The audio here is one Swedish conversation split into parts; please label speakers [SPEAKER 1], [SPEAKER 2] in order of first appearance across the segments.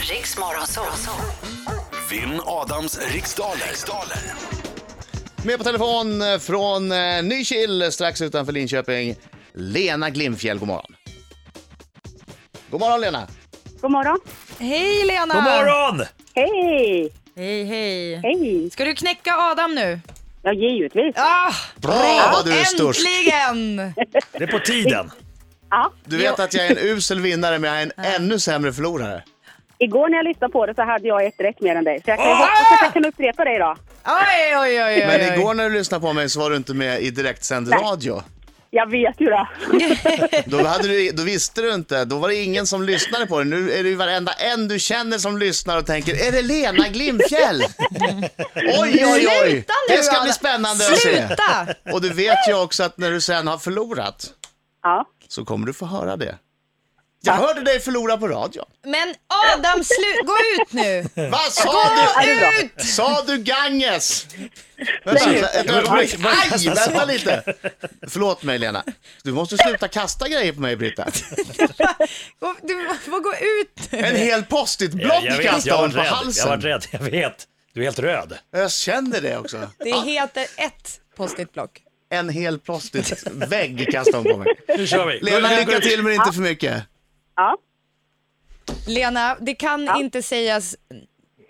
[SPEAKER 1] Riks Morgonzoo.
[SPEAKER 2] Vinn Adams riksdaler. riksdaler.
[SPEAKER 3] Med på telefon eh, från eh, Nykil strax utanför Linköping, Lena Glimfjäll. God morgon. God morgon Lena.
[SPEAKER 4] God morgon.
[SPEAKER 5] Hej Lena!
[SPEAKER 6] God morgon!
[SPEAKER 4] Hej!
[SPEAKER 5] Hej hej!
[SPEAKER 4] Hej!
[SPEAKER 5] Ska du knäcka Adam nu?
[SPEAKER 4] Ja, givetvis.
[SPEAKER 5] Ah,
[SPEAKER 3] Bra vad du är störst.
[SPEAKER 5] Äntligen!
[SPEAKER 6] Det är på tiden.
[SPEAKER 4] Ja,
[SPEAKER 3] Du vet att jag är en usel vinnare men jag är en ännu sämre förlorare.
[SPEAKER 4] igår när jag lyssnade på det så hade jag ett rätt mer än dig. Så jag kan ju hoppas att jag kan upprepa det idag.
[SPEAKER 5] Oj, oj, oj, oj.
[SPEAKER 3] Men igår när du lyssnade på mig så var du inte med i direktsänd radio.
[SPEAKER 4] Jag vet ju det.
[SPEAKER 3] Då, hade du, då visste du inte, då var det ingen som lyssnade på dig. Nu är det ju varenda en du känner som lyssnar och tänker, är det Lena Glimfjäll? Oj, oj, oj!
[SPEAKER 5] Sluta nu,
[SPEAKER 3] Det ska bli
[SPEAKER 5] Adam.
[SPEAKER 3] spännande att se.
[SPEAKER 5] Sluta!
[SPEAKER 3] Och du vet ju också att när du sen har förlorat
[SPEAKER 4] Ja.
[SPEAKER 3] så kommer du få höra det. Jag hörde dig förlora på radio.
[SPEAKER 5] Men Adam, slu- gå ut nu!
[SPEAKER 6] Eh.
[SPEAKER 3] Vad sa
[SPEAKER 5] Gå
[SPEAKER 3] du?
[SPEAKER 5] ut!
[SPEAKER 3] Sa du Ganges? Vänta, ett ögonblick. Aj, vänta lite. Förlåt mig Lena. Du måste sluta kasta grejer på mig Britta.
[SPEAKER 5] Gå- Du får gå ut nu.
[SPEAKER 3] En hel
[SPEAKER 6] Jag,
[SPEAKER 3] post-it-block
[SPEAKER 6] jag vet, jag
[SPEAKER 3] kastade
[SPEAKER 6] har
[SPEAKER 3] hon
[SPEAKER 6] varit
[SPEAKER 3] på
[SPEAKER 6] rädd. Jag har
[SPEAKER 3] halsen.
[SPEAKER 6] varit rädd, jag vet. Du är helt röd.
[SPEAKER 3] Jag känner det också.
[SPEAKER 5] Det heter ett post-it-block.
[SPEAKER 3] En hel post-it-vägg kastade hon på mig.
[SPEAKER 6] Nu kör vi.
[SPEAKER 3] Lena, lycka till men inte för mycket.
[SPEAKER 4] ja.
[SPEAKER 5] Lena, det kan inte sägas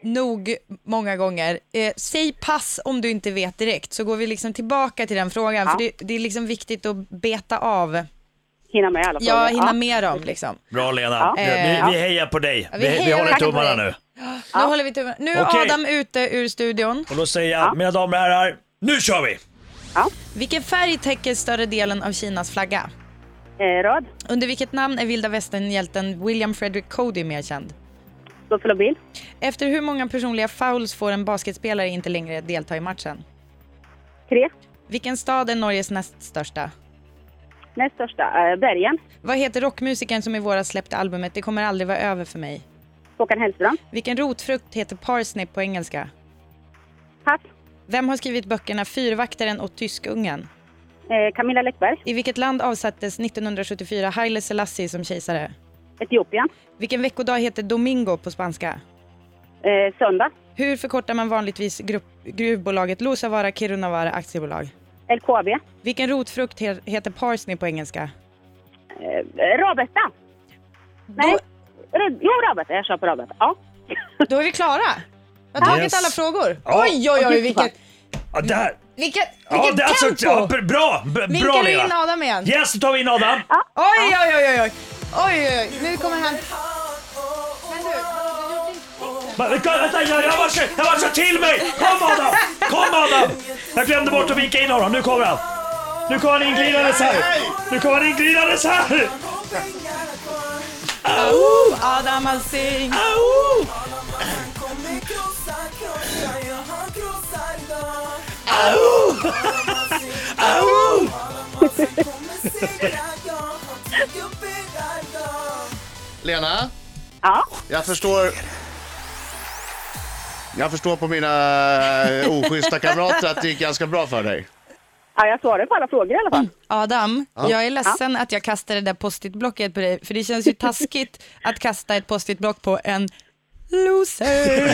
[SPEAKER 5] nog många gånger. Eh, säg pass om du inte vet direkt, så går vi liksom tillbaka till den frågan. För det, det är liksom viktigt att beta av.
[SPEAKER 4] Hinna med alla frågor.
[SPEAKER 5] Jag hinner med dem liksom.
[SPEAKER 6] Bra Lena. Vi, vi hejar på dig.
[SPEAKER 5] vi
[SPEAKER 6] Vi, vi
[SPEAKER 5] hejar
[SPEAKER 6] håller
[SPEAKER 5] verkligen på
[SPEAKER 6] tummarna
[SPEAKER 5] dig.
[SPEAKER 6] nu.
[SPEAKER 5] Nu håller vi tummen. Nu är
[SPEAKER 6] Okej.
[SPEAKER 5] Adam ute ur studion.
[SPEAKER 6] Och då säger jag, mina damer och herrar, nu kör vi!
[SPEAKER 5] Vilken färg täcker större delen av Kinas flagga?
[SPEAKER 4] Eh, röd.
[SPEAKER 5] Under vilket namn är vilda västern-hjälten William Frederick Cody mer känd?
[SPEAKER 4] Buffalo Bill.
[SPEAKER 5] Efter hur många personliga fouls får en basketspelare inte längre delta i matchen?
[SPEAKER 4] Tre.
[SPEAKER 5] Vilken stad är Norges näst största?
[SPEAKER 4] Näst största. Eh, Bergen.
[SPEAKER 5] Vad heter rockmusikern som i våras släppte albumet Det kommer aldrig vara över för mig?
[SPEAKER 4] Håkan Hellström.
[SPEAKER 5] Vilken rotfrukt heter parsnip på engelska?
[SPEAKER 4] Pass.
[SPEAKER 5] Vem har skrivit böckerna Fyrvaktaren och Tyskungen?
[SPEAKER 4] Eh, Camilla Läckberg.
[SPEAKER 5] I vilket land avsattes 1974 Haile Selassie som kejsare?
[SPEAKER 4] Etiopien.
[SPEAKER 5] Vilken veckodag heter Domingo på spanska?
[SPEAKER 4] Eh, söndag.
[SPEAKER 5] Hur förkortar man vanligtvis grupp, gruvbolaget Luossavaara Kirunavaara Aktiebolag?
[SPEAKER 4] LKAB.
[SPEAKER 5] Vilken rotfrukt he, heter parsnip på engelska?
[SPEAKER 4] Eh, Rödbeta. Nej. Röd... Jo, rödbeta. Jag kör på rödbeta. Ja.
[SPEAKER 5] Då är vi klara! Jag har tagit
[SPEAKER 6] Yes.
[SPEAKER 5] alla frågor.
[SPEAKER 6] Ja.
[SPEAKER 5] Oj, oj, oj, vilket,
[SPEAKER 6] Ja, där!
[SPEAKER 5] vilket,
[SPEAKER 6] Ja,
[SPEAKER 5] vilket
[SPEAKER 6] där så,
[SPEAKER 5] tempo!
[SPEAKER 6] ja, bra! Bra
[SPEAKER 5] Vinkar du
[SPEAKER 6] Lena!
[SPEAKER 5] in Adam igen?
[SPEAKER 6] Yes, då tar vi in Adam!
[SPEAKER 5] Oj, oj, oj, oj, oj. Oj, oj, oj. Nu kommer han. Men du,
[SPEAKER 6] Va- Vänta, vänta, jag, jag, var, jag var så till mig! Kom Adam! Kom Adam! Jag glömde bort att vinka in honom, nu kommer han! Nu kommer han inglidandes här! Nu kommer han inglidandes här!
[SPEAKER 5] oh, Adam Alsing.
[SPEAKER 6] Au! Au! Au!
[SPEAKER 3] Lena,
[SPEAKER 4] Ja.
[SPEAKER 3] jag förstår... Jag förstår på mina eh, oschyssta kamrater att det gick ganska bra för dig.
[SPEAKER 4] ja, jag svarade på alla frågor i alla fall.
[SPEAKER 5] Adam, jag är ledsen att jag kastade det där post-it-blocket på dig, för det känns ju taskigt att kasta ett post-it-block på en loser.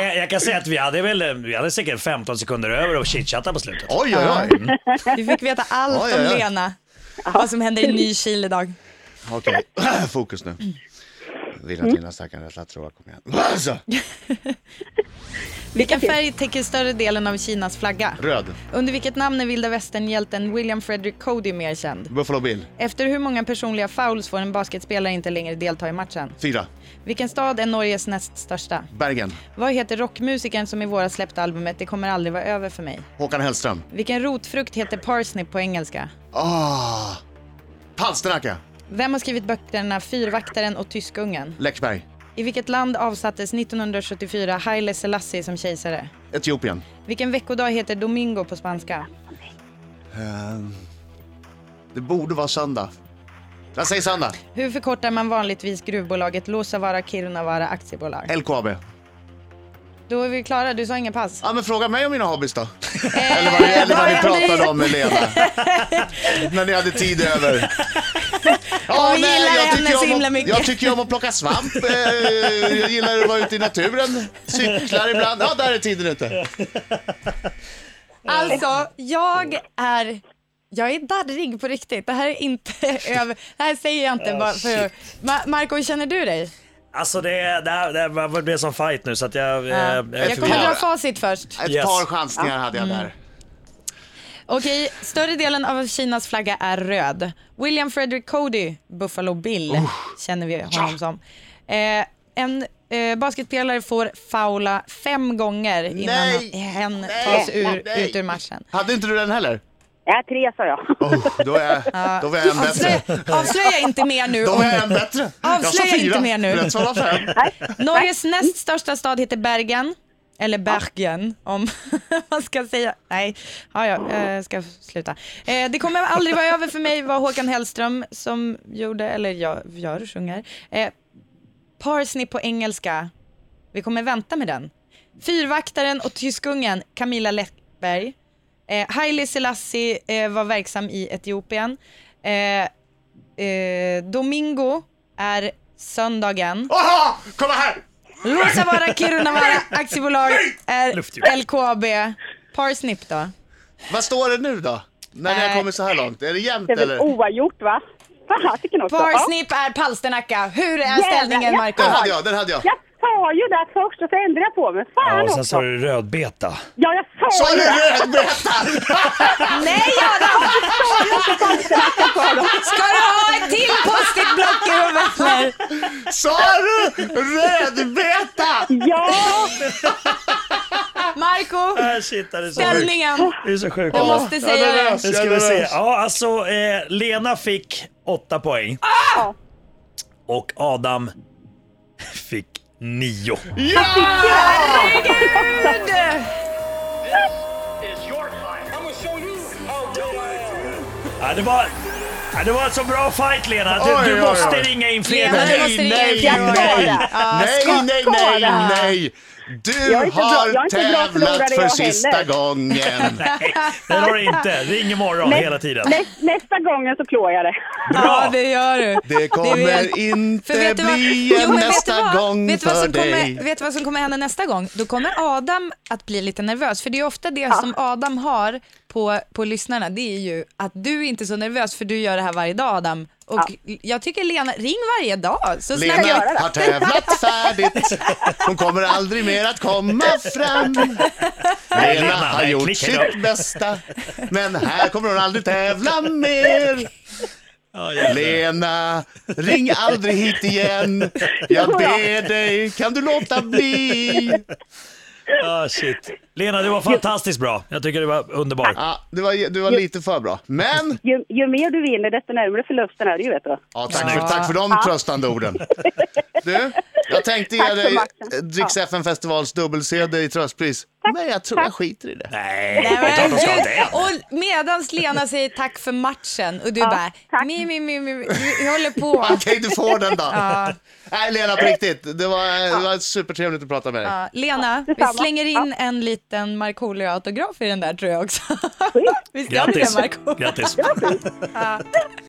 [SPEAKER 6] Eh, Jag kan säga att vi hade, väl, vi hade säkert 15 sekunder över och chitchatta på slutet.
[SPEAKER 3] Oj, Mm. oj, oj.
[SPEAKER 5] Du fick veta allt
[SPEAKER 3] Oj,
[SPEAKER 5] om
[SPEAKER 3] oj, oj.
[SPEAKER 5] Lena, vad som hände i Nykil idag.
[SPEAKER 3] Okej, fokus nu. Vill att dina stackare rätta trådar, kom igen. Alltså,
[SPEAKER 5] Vilken färg täcker större delen av Kinas flagga?
[SPEAKER 3] röd,
[SPEAKER 5] Under vilket namn är vilda västern-hjälten William Frederick Cody mer känd?
[SPEAKER 3] Buffalo Bill,
[SPEAKER 5] Efter hur många personliga fouls får en basketspelare inte längre delta i matchen?
[SPEAKER 3] fyra,
[SPEAKER 5] Vilken stad är Norges näst största?
[SPEAKER 3] Bergen,
[SPEAKER 5] Vad heter rockmusikern som i våras släppte albumet Det kommer aldrig vara över för mig?
[SPEAKER 3] Håkan Hellström.
[SPEAKER 5] Vilken rotfrukt heter parsnip på engelska?
[SPEAKER 3] Ah, Palsternacka,
[SPEAKER 5] Vem har skrivit böckerna Fyrvaktaren och Tyskungen?
[SPEAKER 3] Läckberg,
[SPEAKER 5] I vilket land avsattes 1974 Haile Selassie som kejsare?
[SPEAKER 3] Etiopien.
[SPEAKER 5] Vilken veckodag heter Domingo på spanska?
[SPEAKER 3] Ehm, Det borde vara söndag. Jag säger söndag.
[SPEAKER 5] Hur förkortar man vanligtvis gruvbolaget Luossavaara Kirunavaara Aktiebolag?
[SPEAKER 3] LKAB.
[SPEAKER 5] Då är vi klara, du sa inga pass.
[SPEAKER 3] Ja, men fråga mig om mina hobbys då.
[SPEAKER 5] Eh,
[SPEAKER 3] Eller vad, eller vad ni pratade om med Lena. När ni hade tid över.
[SPEAKER 5] Och vi gillar
[SPEAKER 3] jag
[SPEAKER 5] henne
[SPEAKER 3] tycker
[SPEAKER 5] så
[SPEAKER 3] om
[SPEAKER 5] himla
[SPEAKER 3] att-
[SPEAKER 5] mycket.
[SPEAKER 3] Jag tycker om att plocka svamp. eh, Jag gillar att vara ute i naturen. Cyklar ibland. Ja, där är tiden ute.
[SPEAKER 5] Alltså, jag är... Jag är darrig på riktigt. Det här är inte över... Det här säger jag inte bara för... Ma- Marco, hur känner du dig?
[SPEAKER 6] Alltså det, är- det, här, det, här, det blev som fight nu så att jag... eh,
[SPEAKER 5] Ja.
[SPEAKER 6] jag är
[SPEAKER 5] Jag kommer
[SPEAKER 6] förvirrad.
[SPEAKER 5] dra facit först.
[SPEAKER 3] Ett
[SPEAKER 6] Yes.
[SPEAKER 3] par chansningar hade jag
[SPEAKER 5] Mm.
[SPEAKER 3] där.
[SPEAKER 5] Okej, större delen av Kinas flagga är röd. William Frederick Cody, Buffalo Bill, känner vi honom som. Eh, en eh, basketspelare får faula fem gånger innan
[SPEAKER 3] Nej!
[SPEAKER 5] han- hen
[SPEAKER 3] Nej!
[SPEAKER 5] tas ur,
[SPEAKER 3] Nej!
[SPEAKER 5] ut ur matchen.
[SPEAKER 3] Hade inte du den heller?
[SPEAKER 4] Ja, tre sa jag.
[SPEAKER 3] Oh, då, är, då var jag en
[SPEAKER 5] Avslöja,
[SPEAKER 3] bättre.
[SPEAKER 5] avslöja inte mer nu.
[SPEAKER 3] Då var jag
[SPEAKER 5] om-
[SPEAKER 3] en bättre. jag sa
[SPEAKER 5] Avslöja
[SPEAKER 3] fyra.
[SPEAKER 5] inte mer nu.
[SPEAKER 3] Rätt svar var fem.
[SPEAKER 5] Norges näst största stad heter Bergen. Eller Bergen, om man ska säga. Nej, ja, ja, jag ska sluta. Eh, det kommer aldrig vara över för mig vad Håkan Hellström som gjorde, eller jag gör, sjunger. Eh, Parsnip på engelska. Vi kommer vänta med den. Fyrvaktaren och tyskungen Camilla Läckberg. Eh, Haile Selassie eh, var verksam i Etiopien. Eh, eh, Domingo är söndagen.
[SPEAKER 3] Aha! Kolla här!
[SPEAKER 5] Luossavaara Kirunavaara aktiebolag är
[SPEAKER 6] Luftljus.
[SPEAKER 5] LKAB. Parsnip då?
[SPEAKER 3] Vad står det nu då? När ni har
[SPEAKER 5] Nej.
[SPEAKER 3] kommit så här långt? Är det jämnt
[SPEAKER 4] Det är väl
[SPEAKER 3] eller?
[SPEAKER 4] oavgjort va? Fasiken också. Ja.
[SPEAKER 5] Parsnip är Palsternacka. Hur är ställningen
[SPEAKER 4] ja.
[SPEAKER 5] Marco?
[SPEAKER 3] Den hade jag, den hade jag.
[SPEAKER 4] Jag sa ju det först och så ändrade jag på mig. Fan
[SPEAKER 6] Ja, och sen
[SPEAKER 4] också.
[SPEAKER 6] sa du rödbeta.
[SPEAKER 4] Ja, jag
[SPEAKER 3] Sa
[SPEAKER 4] sa
[SPEAKER 3] du
[SPEAKER 4] ju det.
[SPEAKER 3] röd? Berätta!
[SPEAKER 5] Nej Adam! Ska du ha ett till post-it-block i rummet?
[SPEAKER 3] Sa du rödbeta?
[SPEAKER 4] Ja,
[SPEAKER 5] Marco,
[SPEAKER 6] Äh, shit, det är så sjukt.
[SPEAKER 5] ställningen.
[SPEAKER 6] Det är så sjukt.
[SPEAKER 5] Jag måste
[SPEAKER 3] jag
[SPEAKER 5] säga
[SPEAKER 3] är
[SPEAKER 5] det.
[SPEAKER 3] nervös.
[SPEAKER 6] Nu ska vi se.
[SPEAKER 3] nervös.
[SPEAKER 6] Ja, alltså eh, Lena fick åtta poäng.
[SPEAKER 5] Ah!
[SPEAKER 6] Och Adam fick nio.
[SPEAKER 5] Herregud!
[SPEAKER 6] Ja, det, var, ja, det var en så bra fight Lena. Du,
[SPEAKER 3] Oj,
[SPEAKER 6] du
[SPEAKER 3] oj, oj.
[SPEAKER 6] måste ringa in fler
[SPEAKER 5] Lena, du
[SPEAKER 6] gånger.
[SPEAKER 5] måste ringa
[SPEAKER 3] nej,
[SPEAKER 5] igen.
[SPEAKER 3] nej,
[SPEAKER 4] Ja,
[SPEAKER 3] nej, nej, nej, nej. Du
[SPEAKER 4] Jag är inte bra- jag
[SPEAKER 3] har
[SPEAKER 4] är inte bra förlorare
[SPEAKER 3] tävlat för
[SPEAKER 4] jag
[SPEAKER 3] sista
[SPEAKER 4] heller.
[SPEAKER 3] gången.
[SPEAKER 6] Nej, det har du inte. Ring imorgon hela tiden.
[SPEAKER 4] Nä, nästa gången så klår jag det.
[SPEAKER 5] Ja, det gör du.
[SPEAKER 3] Det
[SPEAKER 5] vet jag.
[SPEAKER 3] kommer
[SPEAKER 5] För
[SPEAKER 3] inte
[SPEAKER 5] vet du vad-
[SPEAKER 3] bli
[SPEAKER 5] Jo,
[SPEAKER 3] en
[SPEAKER 5] men vet du
[SPEAKER 3] nästa
[SPEAKER 5] vad?
[SPEAKER 3] gång
[SPEAKER 5] vet du vad
[SPEAKER 3] för
[SPEAKER 5] som Kommer,
[SPEAKER 3] dig.
[SPEAKER 5] vet du vad som kommer hända nästa gång? Då kommer Adam att bli lite nervös. För det är ofta det som Adam har på, på lyssnarna. Det är ju att du är inte är så nervös för du gör det här varje dag Adam. Och jag tycker Lena, ring varje dag så snackar
[SPEAKER 3] Lena
[SPEAKER 5] vi.
[SPEAKER 3] har tävlat färdigt. Hon kommer aldrig mer att komma fram. Lena
[SPEAKER 6] Lena,
[SPEAKER 3] har
[SPEAKER 6] nej,
[SPEAKER 3] gjort
[SPEAKER 6] klicka
[SPEAKER 3] sitt
[SPEAKER 6] upp.
[SPEAKER 3] bästa. Men här kommer hon aldrig tävla mer.
[SPEAKER 6] Ja, jävlar.
[SPEAKER 3] Lena, ring aldrig hit igen. Jag ber dig, kan du låta bli?
[SPEAKER 6] Ja, shit. Lena, du var fantastiskt bra. Jag tycker du var underbar.
[SPEAKER 3] Ja, du, var, du var lite för bra. Men,
[SPEAKER 4] Ju, ju mer du vinner desto närmare förlusten är du ju vet du.
[SPEAKER 3] ja, tack,
[SPEAKER 5] Snyggt.
[SPEAKER 3] för, tack för de tröstande orden. Du, jag tänkte ge
[SPEAKER 4] Tack för
[SPEAKER 3] dig
[SPEAKER 4] matchen.
[SPEAKER 3] eh, Dricks FN Festivals dubbelsedel i tröstpris. Men jag tror jag skiter i det.
[SPEAKER 6] Nej,
[SPEAKER 5] Nej,
[SPEAKER 6] det är klart
[SPEAKER 5] men
[SPEAKER 6] de ska ha
[SPEAKER 5] du-
[SPEAKER 6] det.
[SPEAKER 5] och medans Lena säger tack för matchen och du bara,
[SPEAKER 4] tack.
[SPEAKER 5] mi, mi, mi, mi, vi håller på.
[SPEAKER 3] Okej, du får den då. Nej, Lena, på riktigt. Det var, det var supertrevligt att prata med dig.
[SPEAKER 5] Ja, Lena, vi
[SPEAKER 4] detsamma.
[SPEAKER 5] slänger in en liten Markoolio-autograf i den där tror jag också. Visst gör vi det
[SPEAKER 6] Grattis.
[SPEAKER 5] Marko?
[SPEAKER 6] Grattis.